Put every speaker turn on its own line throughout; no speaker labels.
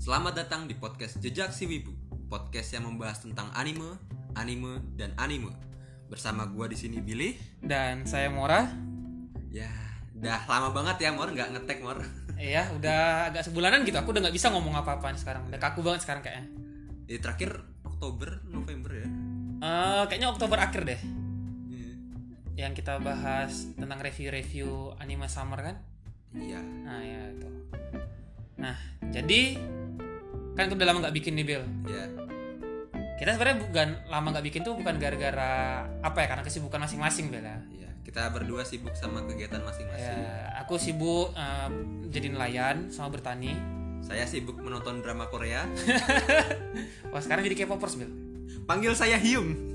Selamat datang di podcast Jejak Si Wibu, podcast yang membahas tentang anime, anime, dan anime. Bersama gua di sini Billy.
Dan saya Mora.
Ya, dah lama banget ya Mor nggak ngetek Mor.
Iya, udah agak sebulanan gitu. Aku udah nggak bisa ngomong apa-apaan sekarang. Udah kaku banget sekarang kayaknya.
Eh, terakhir Oktober, November ya.
Eh, kayaknya Oktober akhir deh
Iya.
yang kita bahas tentang review-review anime summer kan.
Iya.
Nah, ya itu. Nah, jadi kan aku udah lama nggak bikin nih Bill.
Ya.
Kita sebenarnya bukan lama nggak bikin tuh bukan gara-gara apa ya karena kesibukan masing-masing Bill ya.
Iya. Kita berdua sibuk sama kegiatan masing-masing.
Ya, aku sibuk eh, jadi nelayan sama bertani.
Saya sibuk menonton drama Korea.
Wah sekarang jadi K-popers Bill.
Panggil saya Hyung.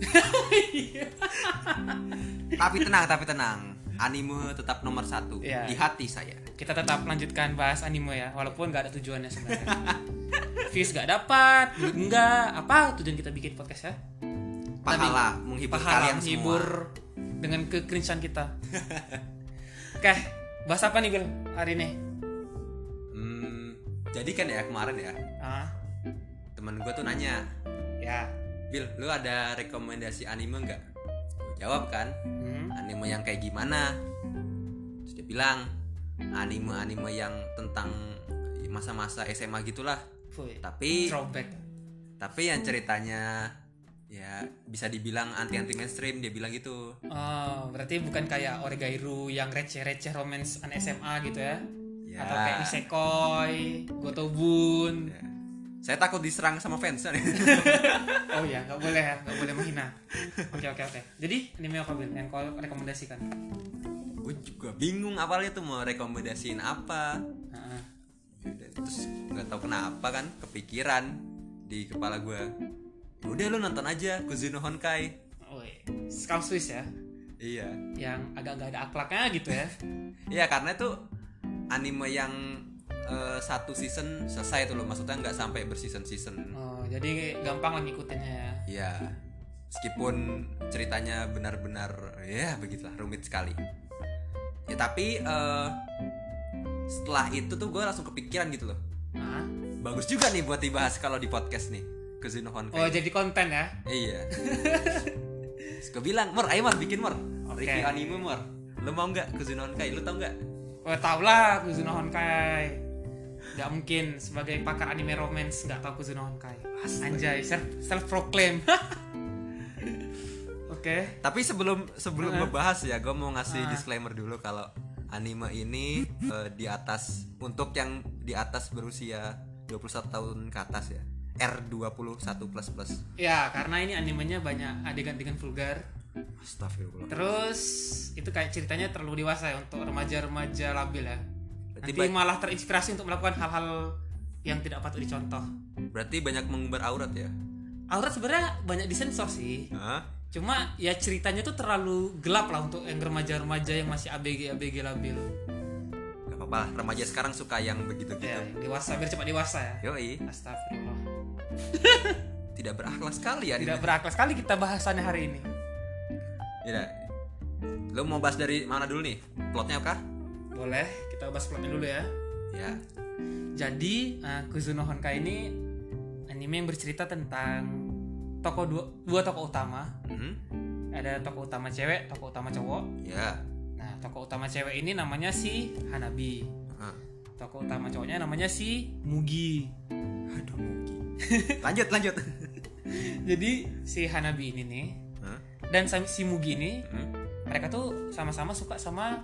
tapi tenang, tapi tenang. Anime tetap nomor satu
Iya.
di hati saya.
kita tetap lanjutkan bahas anime ya walaupun nggak ada tujuannya sebenarnya views nggak dapat duit nggak apa tujuan kita bikin podcast ya
Pahala menghibur kalian
pahala menghibur
semua.
dengan kekerincan kita oke bahas apa nih Bil hari ini
Hmm, jadi kan ya kemarin ya
ah
teman gue tuh nanya,
ya
Bill, lu ada rekomendasi anime nggak? Gue jawab kan,
hmm.
anime yang kayak gimana? Terus dia bilang, anime-anime yang tentang masa-masa SMA gitulah.
Fuh,
Tapi
throwback
tapi yang ceritanya ya bisa dibilang anti anti mainstream dia bilang gitu
oh berarti bukan kayak Oregairu yang receh-receh romance an SMA gitu ya
ya,
atau kayak Isekoi Gotobun
ya. saya takut diserang sama fans
Oh iya, nggak boleh ya, nggak boleh menghina. Oke oke oke. Jadi anime apa Bil? Yang kau rekomendasikan?
gue juga bingung awalnya tuh mau rekomendasiin apa
Heeh.
Yaudah, Iya, terus nggak tahu kenapa kan kepikiran di kepala gue udah lu nonton aja Kuzuno Honkai
Woi, Skull Swiss ya,
iya
yang agak nggak ada akhlaknya gitu ya.
iya karena itu anime yang eh, satu season selesai tuh loh maksudnya nggak sampai berseason season
Oh, jadi gampang lah ngikutinnya ya.
iya meskipun ceritanya benar-benar ya begitulah rumit sekali ya tapi eh, setelah itu tuh gue langsung kepikiran gitu loh
Hah?
bagus juga nih buat dibahas kalau di podcast nih Kuzuno Honkai
Oh jadi konten ya?
Iya. Terus gue bilang, Mor, ayo Mor, bikin Mor.
Oke.
Review anime Mor. Lu mau nggak Kuzuno Honkai? Lu tau nggak?
Oh tau lah Kuzuno Honkai. Gak mungkin sebagai pakar anime romance nggak tahu Kuzuno Honkai. Anjay, self proclaim. Oke.
Tapi sebelum sebelum
Heeh.
ngebahas ya, gue mau ngasih
Ah.
disclaimer dulu kalau anime ini eh, di atas untuk yang di atas berusia 21 tahun ke atas ya. R21 plus plus.
Ya karena ini animenya banyak adegan-adegan vulgar.
Astagfirullah.
Terus itu kayak ceritanya terlalu dewasa ya untuk remaja-remaja labil ya.
Berarti,
Nanti
ba-
malah terinspirasi untuk melakukan hal-hal yang tidak patut dicontoh.
berarti banyak mengumbar aurat ya?
Aurat sebenarnya banyak disensor sih.
Hah?
Cuma ya ceritanya tuh terlalu gelap lah untuk yang remaja-remaja yang masih ABG ABG labil.
Gak apa-apa lah, remaja sekarang suka yang
Ya,
begitu-gitu.
dewasa biar cepat dewasa ya.
Yoi,
Astagfirullah.
tidak berakhlak sekali ya
Tidak beraklas sekali kita bahasannya hari ini.
Iya. Lo mau bahas dari mana dulu nih? Plotnya kah?
Boleh, kita bahas plotnya dulu ya.
Ya.
Jadi eh, Kuzuno Honkai ini anime yang bercerita tentang tokoh dua, dua tokoh utama
Hmm?
ada tokoh utama cewek, tokoh utama cowok.
Ya.
Nah, tokoh utama cewek ini namanya si Hanabi.
Heeh.
Tokoh utama cowoknya namanya si Mugi.
Aduh, Mugi. lanjut, lanjut.
Jadi si Hanabi ini nih
Hah?
dan sam- si Mugi ini
Hmm?
mereka tuh sama-sama suka sama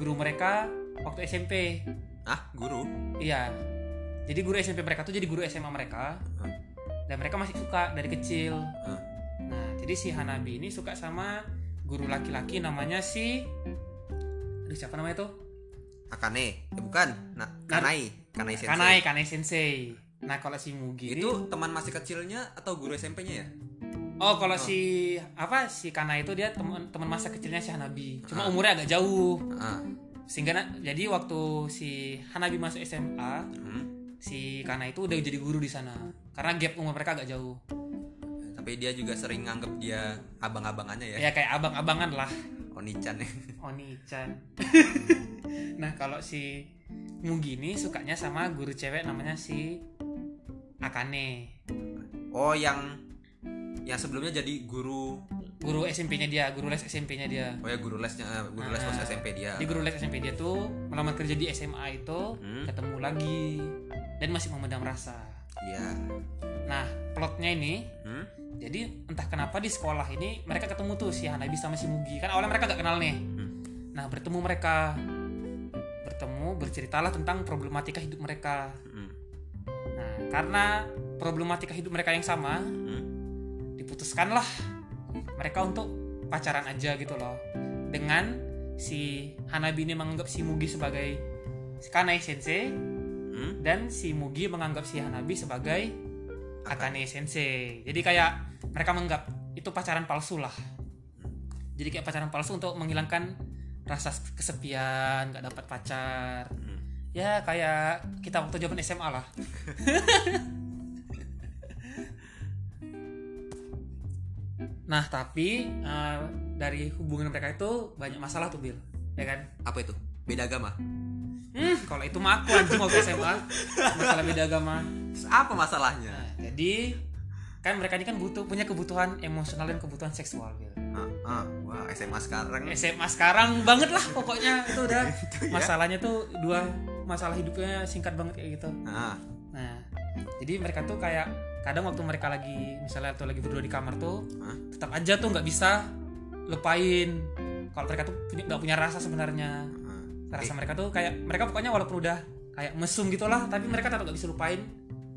guru mereka waktu SMP.
Ah, guru.
Iya. Jadi guru SMP mereka tuh jadi guru SMA mereka.
Hah?
Dan mereka masih suka dari kecil.
Hah?
Nah, jadi si Hanabi ini suka sama guru laki-laki namanya si Aduh, siapa namanya tuh?
Akane. Eh, bukan. Nah, Kanai. Kanai Sensei.
Kanai, Kanai Sensei. Nah, kalau si Mugi ini-
Itu teman masih kecilnya atau guru SMP-nya ya?
Oh, kalau
Oh.
si apa si Kanai itu dia teman teman masa kecilnya si Hanabi. Cuma
Ah.
umurnya agak jauh.
Heeh.
Sehingga na- jadi waktu si Hanabi masuk SMA,
Hmm.
si Kanai itu udah jadi guru di sana. Karena gap umur mereka agak jauh.
Tapi dia juga sering nganggep dia abang-abangannya ya.
Ya kayak abang-abangan lah,
Onichan ya.
Oni-chan. nah, kalau si Mugi ini sukanya sama guru cewek namanya si Akane
Oh yang yang sebelumnya jadi guru
guru SMP-nya dia guru les SMP-nya dia
oh ya guru lesnya eh, guru les pas
Ah.
SMP dia
di guru les SMP dia tuh melamar kerja di SMA itu
Hmm.
ketemu lagi dan masih memendam rasa
Iya.
nah plotnya ini
Hmm?
jadi entah kenapa di sekolah ini mereka ketemu tuh si Hanabi sama si Mugi kan awalnya mereka gak kenal nih
Hmm.
nah bertemu mereka bertemu berceritalah tentang problematika hidup mereka
Hmm.
nah karena problematika hidup mereka yang sama
Hmm.
diputuskanlah mereka untuk pacaran aja gitu loh dengan si Hanabi ini menganggap si Mugi sebagai Kanai Sensei
Hmm?
dan si Mugi menganggap si Hanabi sebagai Akane Sensei jadi kayak mereka menganggap itu pacaran palsu lah jadi kayak pacaran palsu untuk menghilangkan rasa kesepian nggak dapat pacar
Hmm.
ya kayak kita waktu zaman SMA lah nah tapi eh, dari hubungan mereka itu banyak masalah tuh Bill ya kan
Apa itu? Beda agama.
hmm, kalau itu mah aku anjing waktu SMA masalah beda agama
Terus apa masalahnya?
Nah, jadi kan mereka ini kan butuh punya kebutuhan emosional dan kebutuhan seksual Bill
Ah, ah, wah SMA sekarang.
SMA sekarang banget lah pokoknya itu udah
ya?
masalahnya tuh dua masalah hidupnya singkat banget kayak gitu
Ah,
Nah, jadi mereka tuh kayak kadang waktu mereka lagi misalnya tuh lagi berdua di kamar tuh,
Hah?
tetap aja tuh nggak bisa lepain kalau mereka tuh punya- nggak punya rasa sebenarnya.
ah.
Rasa mereka tuh kayak mereka pokoknya walaupun udah kayak mesum gitulah, tapi mereka tetap nggak bisa lupain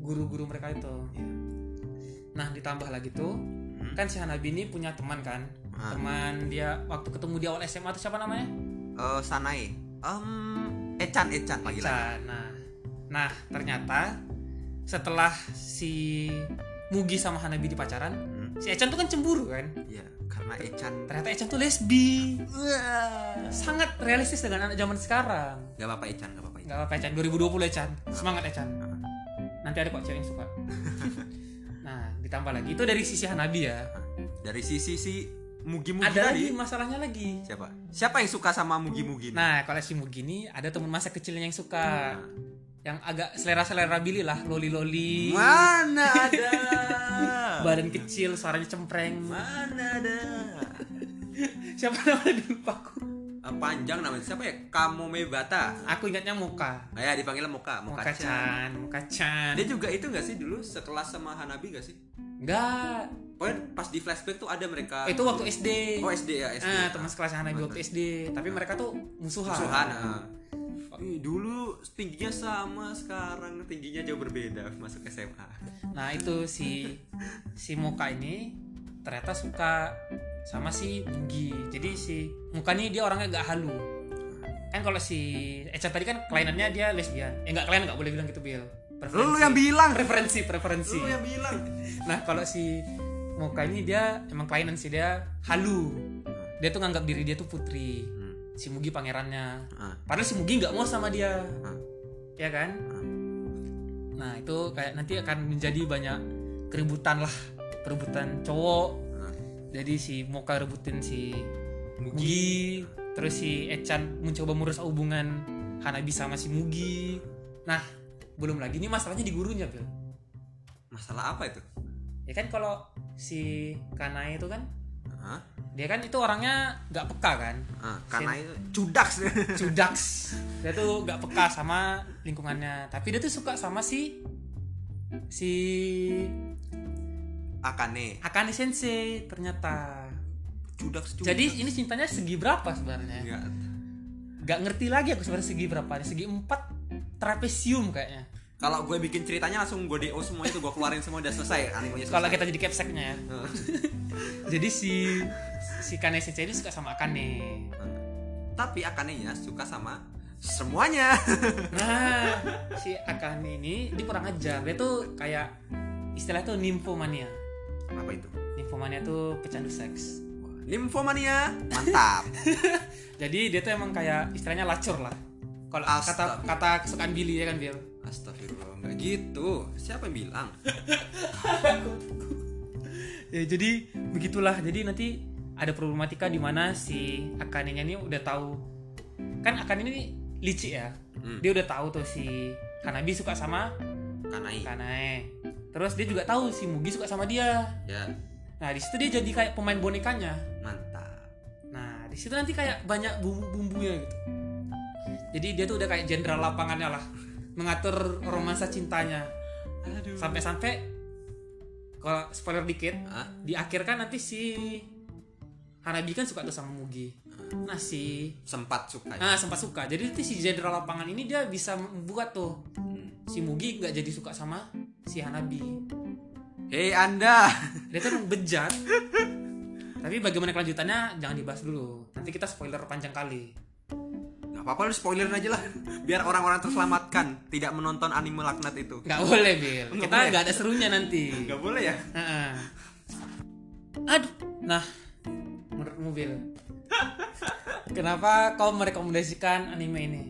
guru-guru mereka itu.
Iya.
Nah, ditambah lagi tuh
Hmm?
kan si Hanabi ini punya teman kan.
Ah.
Teman dia waktu ketemu di awal SMA tuh siapa namanya?
Eh, Sanai. Um, Ecan, Ecan lagi lagi.
Nah, Nah, nah ternyata setelah si Mugi sama Hanabi di pacaran,
Hmm?
si Echan tuh kan cemburu kan.
Iya, karena Ecan.
Ternyata Echan tuh lesbi.
Wah.
Sangat realistis dengan anak zaman sekarang.
Gak apa-apa Ecan, gak apa-apa. Ecan.
Gak apa-apa Echan, 2020 Echan. Semangat Echan.
Heeh.
Nanti ada kok cewek yang suka. nah, ditambah lagi itu dari sisi Hanabi ya.
Dari sisi si Mugi Mugi
Ada
tadi.
lagi masalahnya lagi.
Siapa? Siapa yang suka sama Mugi Mugi? ini?
Nah, kalau si Mugi ini ada teman masa kecilnya yang suka.
Nah.
Yang agak selera-selera Billy lah, loli-loli.
Mana ada? Ah,
Badan
iya.
kecil, suaranya cempreng.
Mana ada?
siapa namanya lupa aku
Eh, Panjang namanya siapa ya? Kamome Bata.
aku ingatnya muka
Ah, ya dipanggil Moka, Moka,
muka
Chan.
Chan muka Chan
Nah, Dia juga itu gak sih dulu sekelas sama Hanabi gak sih?
enggak
Pokoknya pas di flashback tuh ada mereka
itu waktu SD
Oh SD ya SD
ah teman sekelas Hanabi
Teman-
waktu SD tapi mereka tuh musuhan
Suhan ah. Ih, Dulu tingginya sama sekarang tingginya jauh berbeda masuk SMA
nah itu si si muka ini ternyata suka sama si Mugi jadi si muka nih dia orangnya agak halu kan kalau si Echa tadi kan kelainannya dia lesbian ya enggak klien nggak boleh bilang gitu Bill preferensi
Lu yang bilang
preferensi preferensi
Lu yang bilang
Nah kalau si Moka ini dia emang kelainan sih dia halu. Dia tuh nganggap diri dia tuh putri.
Hmm,
Si Mugi pangerannya.
ah,
Padahal si Mugi nggak mau sama dia,
ah,
ya kan?
ah.
Nah itu kayak nanti akan menjadi banyak keributan lah, perebutan cowok.
Ah.
Jadi si Moka rebutin si
Mugi
Mugi, terus si Echan mencoba merusak hubungan Hanabi sama si Mugi. Nah belum lagi ini masalahnya di gurunya, Bil.
Masalah apa itu?
Ya kan kalau si Kanae itu kan
Hah?
dia kan itu orangnya nggak peka kan
Ah, karena itu cudak sih.
cudaks dia tuh nggak peka sama lingkungannya tapi dia tuh suka sama si si
Akane
Akane Sensei ternyata
cudak cudak. Iya.
jadi ini cintanya segi berapa sebenarnya
Enggak.
nggak ngerti lagi aku sebenarnya segi berapa nih segi 4 trapesium kayaknya
Kalau gue bikin ceritanya langsung gue DO semua itu gue keluarin semua udah selesai animenya selesai.
kalau kita jadi capseknya ya
Heeh.
jadi si si Kane Sensei ini suka sama Akane
Tapi Akanenya suka sama semuanya.
nah si Akane ini dia kurang ajar dia tuh kayak istilah tuh nymphomania
apa itu?
nymphomania tuh pecandu seks
Nymphomania. Mantap.
jadi dia tuh emang kayak istilahnya lacur lah kalau
Astaga.
kata kata kesukaan Billy ya kan Bill
Astagfirullah, enggak gitu. Siapa yang bilang?
ya jadi begitulah jadi nanti ada problematika di mana si Akane-nya ini udah tahu kan Akane ini licik ya
Hmm.
dia udah tahu tuh si Hanabi suka sama
Kanai.
Kanae terus dia juga tahu si Mugi suka sama dia
ya
nah di situ dia jadi kayak pemain bonekanya
mantap
nah di situ nanti kayak banyak bumbu-bumbunya gitu jadi dia tuh udah kayak jenderal lapangannya lah mengatur romansa cintanya
aduh
sampai-sampai kalau spoiler dikit
Hah?
di akhir kan nanti si Hanabi kan suka tuh sama Mugi nah si
sempat suka ya?
ah sempat suka jadi nanti si jenderal lapangan ini dia bisa membuat tuh
Hmm.
si Mugi nggak jadi suka sama si Hanabi
hei anda
dia tuh emang bejat tapi bagaimana kelanjutannya jangan dibahas dulu nanti kita spoiler panjang kali
nggak apa-apa lu spoilerin aja lah biar orang-orang terselamatkan tidak menonton anime laknat itu
nggak boleh Bil
Nggak
kita
boleh.
nggak ada serunya nanti
nggak boleh ya
Heeh. aduh nah menurutmu Bil kenapa kau merekomendasikan anime ini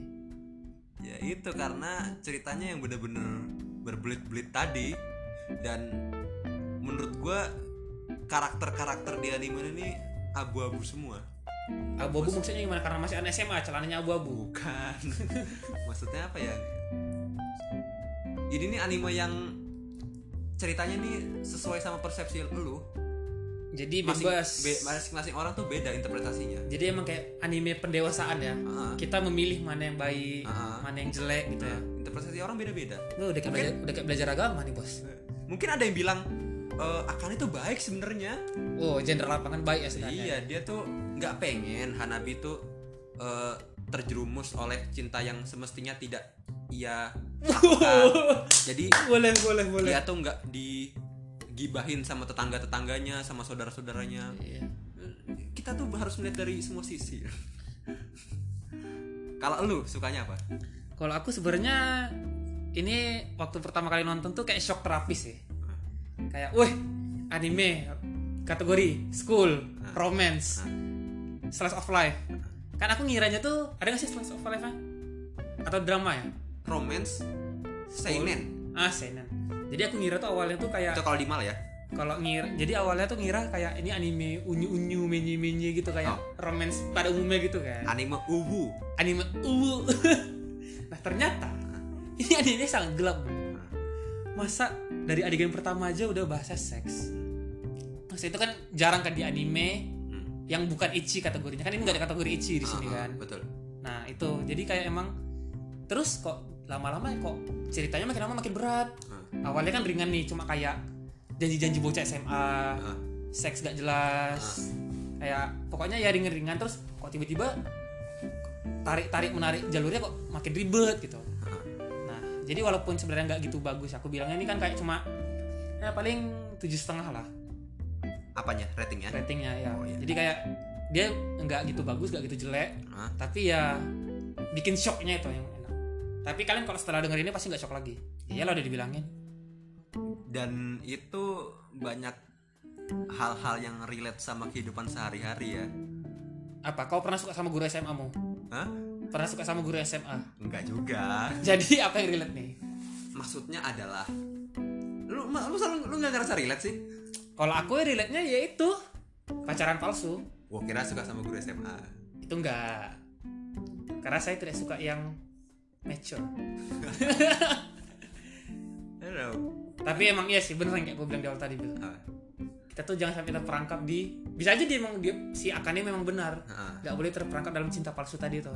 ya itu karena ceritanya yang bener-bener berbelit-belit tadi dan menurut gua karakter-karakter di anime ini abu-abu semua
abu-abu maksudnya gimana karena masih anak SMA celananya abu-abu
bukan maksudnya apa ya ini nih anime yang ceritanya nih sesuai sama persepsi lu
jadi
Masing-
bebas
be- masing-masing orang tuh beda interpretasinya
jadi emang kayak anime pendewasaan ya
Heeh.
kita memilih mana yang baik
Ah.
mana yang jelek gitu ya
interpretasi orang beda-beda
Lu udah kayak belajar, udah kayak belajar agama nih bos.
mungkin ada yang bilang e, Akane tuh baik sebenarnya
Oh, jenderal lapangan baik ya sebenarnya.
Iya, dia tuh nggak pengen Hanabi tuh eh, terjerumus oleh cinta yang semestinya tidak ia lakukan. Jadi
boleh, boleh, boleh.
dia tuh nggak digibahin sama tetangga-tetangganya, sama saudara-saudaranya.
Iya.
Kita tuh harus melihat dari semua sisi. Kalau lu sukanya apa?
Kalau aku sebenarnya ini waktu pertama kali nonton tuh kayak shock terapis sih. Kayak, wih, anime kategori school romance
Nah,
slice of life. Kan aku ngiranya tuh ada gak sih slice of life -nya? atau drama ya?
Romance seinen.
Ah, seinen. Jadi aku ngira tuh awalnya tuh kayak
Itu kalau di mal ya.
kalau ngira jadi awalnya tuh ngira kayak ini anime unyu unyu menye menye gitu kayak
Oh.
romance pada umumnya gitu kan
Anime uwu.
anime uwu nah ternyata ini anime sangat gelap Bro. masa dari adegan pertama aja udah bahasa seks Maksudnya itu kan jarang kan di anime
Hmm.
yang bukan ichi kategorinya kan ini nggak ada kategori ichi di sini
Ah, ah,
kan
Betul.
nah itu jadi kayak emang terus kok lama-lama ya kok ceritanya makin lama makin berat
Ah,
awalnya kan ringan nih cuma kayak janji-janji bocah SMA
ah.
seks gak jelas kayak pokoknya ya ringan-ringan terus kok tiba-tiba tarik-tarik menarik jalurnya kok makin ribet gitu
Ah.
nah jadi walaupun sebenarnya nggak gitu bagus aku bilangnya ini kan kayak cuma ya paling tujuh setengah lah
Apanya ratingnya?
ratingnya ya
Oh, iya.
jadi kayak dia nggak gitu bagus nggak gitu jelek
Ah.
tapi ya bikin shocknya itu yang enak tapi kalian kalau setelah denger ini pasti nggak shock lagi iyalah udah dibilangin
dan itu banyak hal-hal yang relate sama kehidupan sehari-hari ya
apa kau pernah suka sama guru SMA mu
Hah?
pernah suka sama guru SMA
enggak juga
jadi apa yang relate nih
maksudnya adalah lu ma- lu selalu lu nggak ngerasa relate sih
Kalau aku relate-nya ya itu pacaran palsu.
gua kira suka sama guru SMA
Itu enggak. Karena saya tidak suka yang mature.
Hello.
Tapi emang iya sih beneran kayak gue bilang di awal tadi Bil.
Ah,
Kita tuh jangan sampai terperangkap di bisa aja dia emang dia si Akane memang benar.
ah.
Gak boleh terperangkap dalam cinta palsu tadi tuh.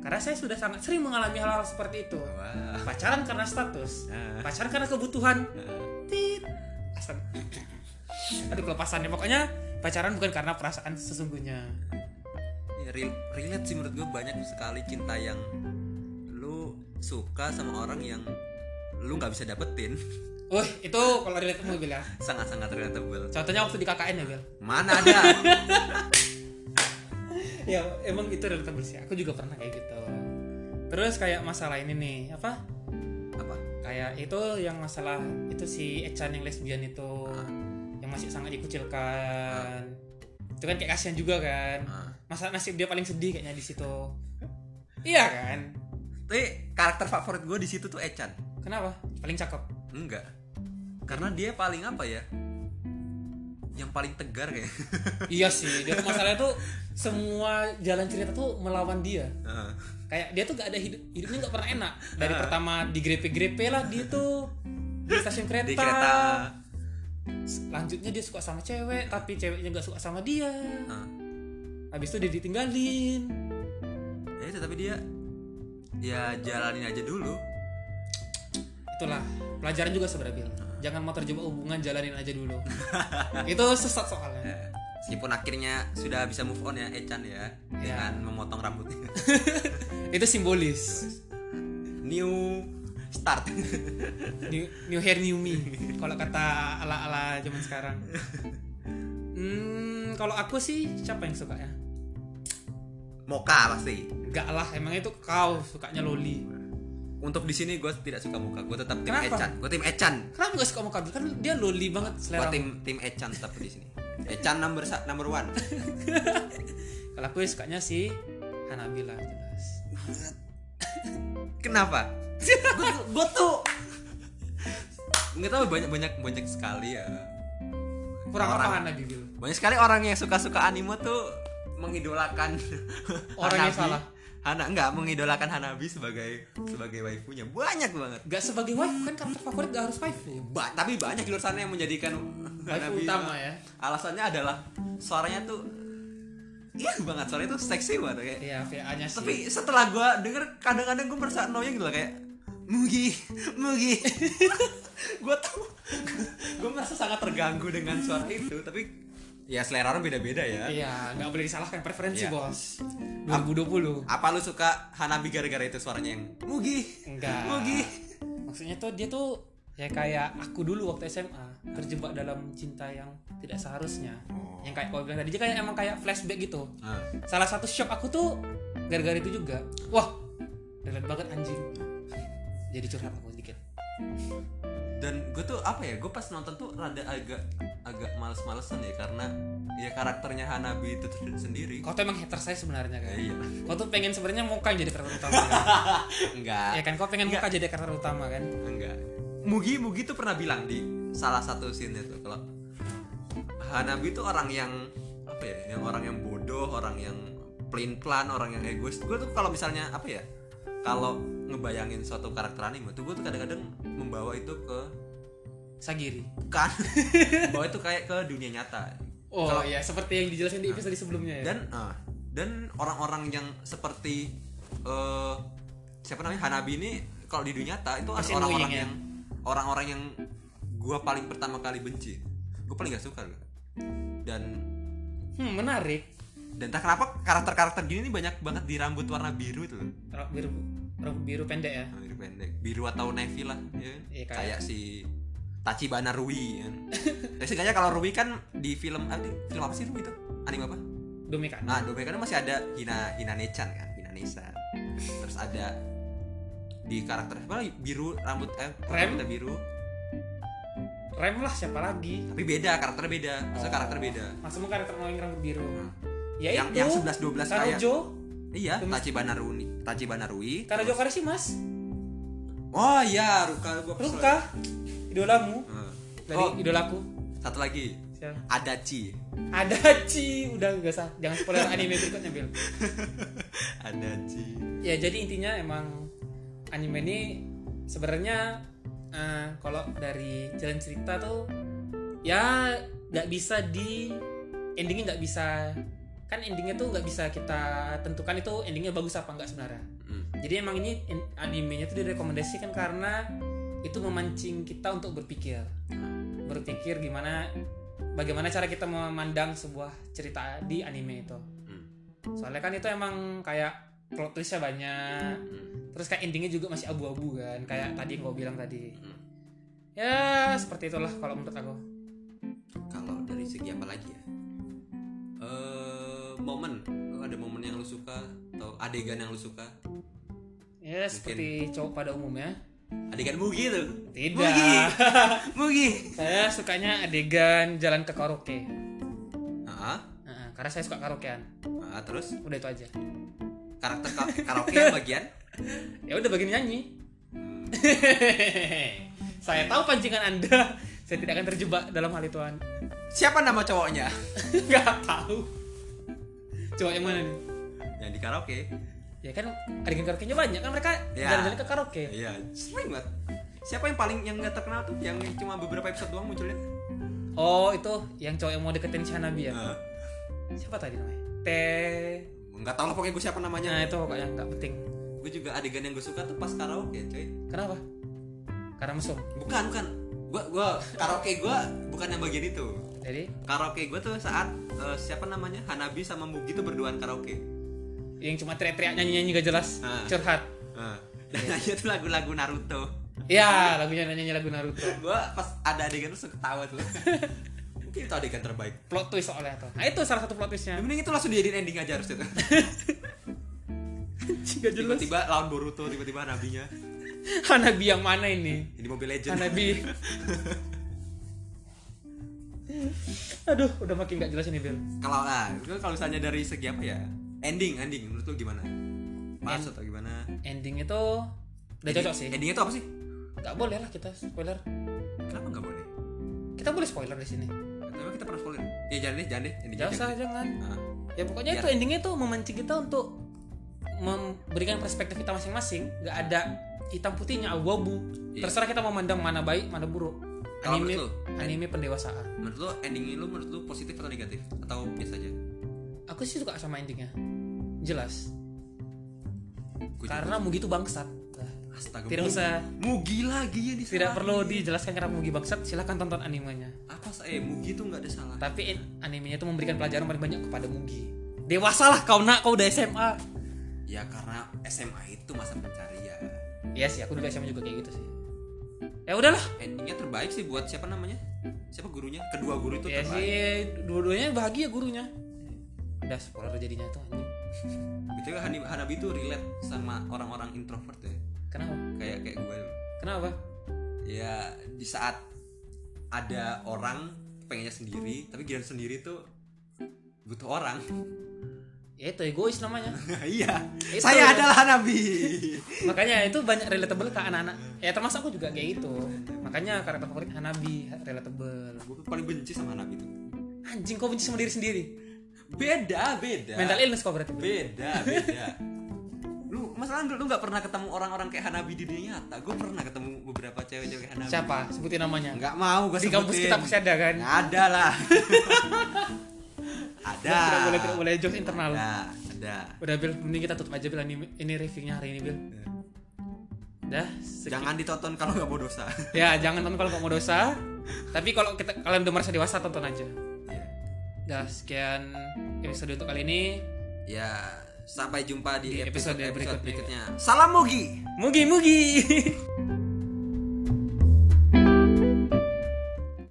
Karena saya sudah sangat sering mengalami hal-hal seperti itu.
Wah.
Pacaran karena status,
Ah.
pacaran karena kebutuhan.
Ah.
Tit. Asal- Aduh kelepasannya pokoknya pacaran bukan karena perasaan sesungguhnya.
Ya, rel- relate sih menurut gue banyak sekali cinta yang lu suka sama orang yang lu nggak bisa dapetin
Wih, itu kalau relate mu Bil ya.
sangat-sangat relatable
Contohnya waktu di KKN ya Bel
mana ada
Ya emang itu relatable sih Aku juga pernah kayak gitu Terus kayak masalah ini nih Apa?
apa
Kayak itu yang masalah Itu si Echan yang lesbian itu
Ah.
Yang masih sangat dikucilkan Itu kan kayak kasihan juga kan
Ah.
Masa nasib dia paling sedih kayaknya di situ Iya kan?
tapi karakter favorit gue di situ tuh Echan
Kenapa? Paling cakep
Enggak. Karena dia paling apa ya? Yang paling tegar kayak.
Iya sih Dia tuh masalahnya tuh Semua jalan cerita tuh melawan dia
Heeh. Ah.
kayak dia tuh gak ada hidup hidupnya nggak pernah enak dari pertama di grepe grepe lah dia tuh di stasiun kereta.
di kereta
Lanjutnya dia suka sama cewek, tapi ceweknya nggak suka sama dia.
nah,
Habis itu dia ditinggalin.
ya itu tapi dia ya jalanin aja dulu
Itulah pelajaran juga sebenarnya Bil. Jangan mau terjebak hubungan jalanin aja dulu. itu sesat soalnya.
Ya, meskipun akhirnya sudah bisa move on ya Echan ya
Ya.
dengan memotong rambutnya
Itu simbolis.
new start
new, new hair new me kalau kata ala ala zaman sekarang hmm kalau aku sih siapa yang suka ya
moka pasti
enggak lah emang itu kau sukanya loli
untuk di sini gue tidak suka moka gue tetap tim
Kenapa?
Echan gue tim Echan
kenapa gak suka sama kabil kan dia loli banget
gue
selera
tim tim Echan tetap di sini Echan number sa- number one
kalau aku ya sukanya si Hanabila jelas
kenapa gue tuh nggak tahu banyak banyak banyak sekali ya
kurang apa
Orang.
Hanabila
banyak sekali orang yang suka suka anime tuh mengidolakan
Orang yang
Hanabi.
salah.
Hana enggak mengidolakan Hanabi sebagai sebagai waifunya banyak banget
gak sebagai wife kan karakter favorit gak harus waifu
Ba- tapi banyak di luar sana yang menjadikan
waifu
Hanabi-
utama ya
alasannya adalah suaranya tuh iya banget suaranya tuh seksi banget kayak
iya VA nya sih
tapi setelah gua denger kadang-kadang gua merasa annoying gitu loh kayak Mugi, Mugi. gua tuh gua merasa sangat terganggu dengan suara itu, tapi ya selera orang beda-beda ya.
iya gak boleh disalahkan
Iya.
preferensi bos 2020
Apa lu suka Hanabi gara-gara itu suaranya yang Mugi?
Enggak.
Mugi.
Maksudnya tuh dia tuh ya kayak aku dulu waktu SMA terjebak dalam cinta yang tidak seharusnya.
Oh.
Yang kayak kau bilang tadi dia kayak emang kayak flashback gitu.
Ah,
Salah satu shock aku tuh gara-gara itu juga. Wah, relate banget anjing. Jadi curhat aku sedikit.
dan gue tuh apa ya gue pas nonton tuh rada agak agak males-malesan ya karena ya karakternya Hanabi itu sendiri
Kau tuh emang hater saya sebenarnya
Ya,
kan.
iya
Kau tuh pengen sebenarnya muka yang jadi karakter utama. kan?
enggak
ya kan kau pengen muka jadi karakter utama kan.
enggak Mugi Mugi tuh pernah bilang di salah satu scene tuh kalau Hanabi tuh orang yang apa ya yang orang yang bodoh orang yang plain plan orang yang egois gue tuh kalau misalnya apa ya kalau ngebayangin suatu karakter anime tuh gue tuh kadang-kadang membawa itu ke
Sagiri.
bukan membawa itu kayak ke dunia nyata
Oh
Kalau-
ya, seperti yang dijelasin di episode sebelumnya
iya. Nah.
ya.
dan ah, dan orang-orang yang seperti eh, siapa namanya Hanabi ini kalau di dunia nyata itu ada
Masih
orang-orang
annoying ya?
yang orang-orang yang gua paling pertama kali benci gua paling gak suka loh. dan
hmm, menarik.
dan tak kenapa karakter-karakter gini nih banyak banget di rambut warna biru itu loh
Rok biru, rok biru pendek ya.
Nah, biru pendek biru atau navy lah ya kan?
Iya, kayak-
kayak si Tachibana Rui kan. Tapi seenggaknya kalau Rui kan di film ah, di film apa sih Rui itu anime apa
Domikan.
Nah, Domekan masih ada Hina Hina Nechan kan, Hina Nesan. Terus ada di karakter apa lagi? biru rambut eh
Rem?
rambutnya biru
Rem lah siapa lagi?
tapi beda karakter beda maksudnya
Oh.
Nah, karakter beda
Maksudmu karakter noing rambut biru.
Hmm.
Ya
yang
itu.
yang 11 12 kayak
Karojo,
iya
Tumis-
Tachibana Rui Tachibana Rui
Karojo
terus-
Karasi Mas.
oh iya Ruka gua kesel.
Ruka, idolamu.
Heeh.
Dari
oh
idolaku.
satu lagi
Siapa?
Adachi
Adachi, udah enggak usah. Jangan spoiler anime berikutnya, Bil.
Adachi
Ya jadi intinya emang anime ini sebenarnya eh, kalau dari jalan cerita tuh ya nggak bisa di endingnya nggak bisa kan endingnya tuh nggak bisa kita tentukan itu endingnya bagus apa enggak sebenarnya
Mm.
Jadi emang ini in- animenya itu direkomendasikan karena itu memancing kita untuk berpikir. Berpikir gimana bagaimana cara kita memandang sebuah cerita di anime itu.
Mm.
Soalnya kan itu emang kayak plot twistnya banyak.
Mm.
Terus kayak endingnya juga masih abu-abu kan, kayak tadi yang kau bilang tadi.
Mm.
Ya, seperti itulah kalau menurut aku.
kalau dari segi apa lagi ya eh momen Lu ada momen yang lu suka atau adegan yang lu suka
Ya, seperti cowok pada umumnya.
adegan Mugi tuh Mugi
Tidak.
Mugi
Saya sukanya adegan jalan ke karaoke.
ah
Heeh, karena saya suka karaokean.
ah, terus
Udah itu aja.
karakter ka- karaoke yang bagian
ya udah bagian nyanyi saya tahu pancingan anda saya tidak akan terjebak dalam hal itu An.
siapa nama cowoknya
nggak tahu coba yang mana nih
yang di karaoke
ya kan adegan karaoke nya banyak kan mereka
Ya.
jalan-jalan ke karaoke
iya sering banget siapa yang paling yang nggak terkenal tuh yang cuma beberapa episode doang munculnya
Oh itu yang cowok yang mau deketin Shanabi ya.
Eh,
Siapa tadi namanya? Teh.
nggak tahu lah pokoknya gue siapa
Nah
namanya
itu pokoknya nggak penting.
gue juga adegan yang gue suka tuh pas karaoke coy
Kenapa? Karena mesum.
bukan bukan gue gue karaoke gue bukan yang bagian itu
Jadi
karaoke gue tuh saat eh, siapa namanya Hanabi sama Mugi tuh berduaan karaoke
yang cuma teriak-teriak nyanyi-nyanyi gak jelas,
Ah.
curhat.
Eh, dan aja tuh lagu-lagu Naruto
Ya lagunya nyanyi lagu Naruto.
gue pas ada adegan tuh suka ketawa tuh mungkin itu adegan terbaik
Plot twist soalnya tuh. Nah itu salah satu plot
Ya,
twistnya.
mending itu langsung dijadiin ending aja harusnya tuh
Gak jelas.
tiba-tiba lawan Boruto tiba-tiba Hanabinya
Hanabi yang mana ini?
ini Mobile Legend
Hanabi. Aduh, udah makin gak jelas ini Bill.
kalau ah itu kalau misalnya dari segi apa ya ending ending menurut lu gimana pas atau gimana
Ending itu udah Ya, cocok sih.
endingnya itu apa sih
Gak boleh lah kita spoiler.
kenapa nggak boleh
Kita boleh spoiler di sini.
Tapi kita pernah spoiler ya jangan deh jangan deh endingnya
Jangan usah,
jangan deh.
jangan.
Ah.
Ya pokoknya
Biar-
itu endingnya itu memancing kita untuk memberikan perspektif kita masing-masing. Gak ada hitam putihnya abu-abu.
Iya.
Terserah kita mau mandang mana baik, mana buruk.
Kalau
Anime,
menurut lu?
anime pendewasaan.
menurut lu ending lu menurut lu positif atau negatif atau biasa aja
Aku sih suka sama endingnya. Jelas.
Gua juga-
Karena Mugi itu bangsat. Nah,
astaga
Tidak
Mugi-
usah.
Mugi lagi ya di
Tidak perlu dijelaskan karena Mugi bangsat. Silahkan tonton animenya.
apa sa- eh Mugi tuh nggak ada salah
Tapi eh, animenya itu memberikan pelajaran paling banyak kepada Mugi. Dewasalah kau nak, kau udah SMA.
ya karena SMA itu masa pencarian
Iya sih, aku dulu SMA juga kayak gitu sih. Ya udahlah.
endingnya terbaik sih buat siapa namanya siapa gurunya kedua guru itu
Ya
terbaik
sih, dua-duanya bahagia gurunya. Udah spoiler jadinya itu anjing.
Btw Hani- Hanabi itu relate sama orang-orang introvert ya.
Kenapa?
Kayak kayak gue.
Kenapa?
Ya di saat ada orang pengennya sendiri, tapi giliran sendiri tuh butuh orang.
Ya itu egois namanya.
iya.
Itu.
Saya adalah Hanabi.
Makanya itu banyak relatable ke anak-anak. Ya termasuk aku juga kayak gitu. Makanya karakter favorit Hanabi relatable.
gue paling benci sama Hanabi itu.
Anjing kau benci sama diri sendiri.
Beda, beda.
Mental illness kau berarti.
Beda, beda. lu masalah lu nggak pernah ketemu orang-orang kayak Hanabi di dunia nyata. Gue pernah ketemu beberapa cewek-cewek kayak Hanabi.
Siapa? Sebutin namanya.
Nggak mau gue
Di kampus kita pasti ada kan.
Nggak ada lah. ada.
Tidak boleh tidak boleh jokes internal.
Ada, ada.
Udah Bil, mending kita tutup aja Bil anime- ini reviewnya hari ini Bil. Dah, sekian.
Jangan ditonton kalau nggak mau dosa.
Ya, jangan tonton kalau nggak mau dosa. Tapi kalau kita kalian udah merasa dewasa tonton aja. Iya.
ya.
Dah, sekian episode untuk kali ini.
ya, sampai jumpa di
Di episode
episode-episode
berikutnya.
berikutnya. Salam Mugi.
Mugi mugi.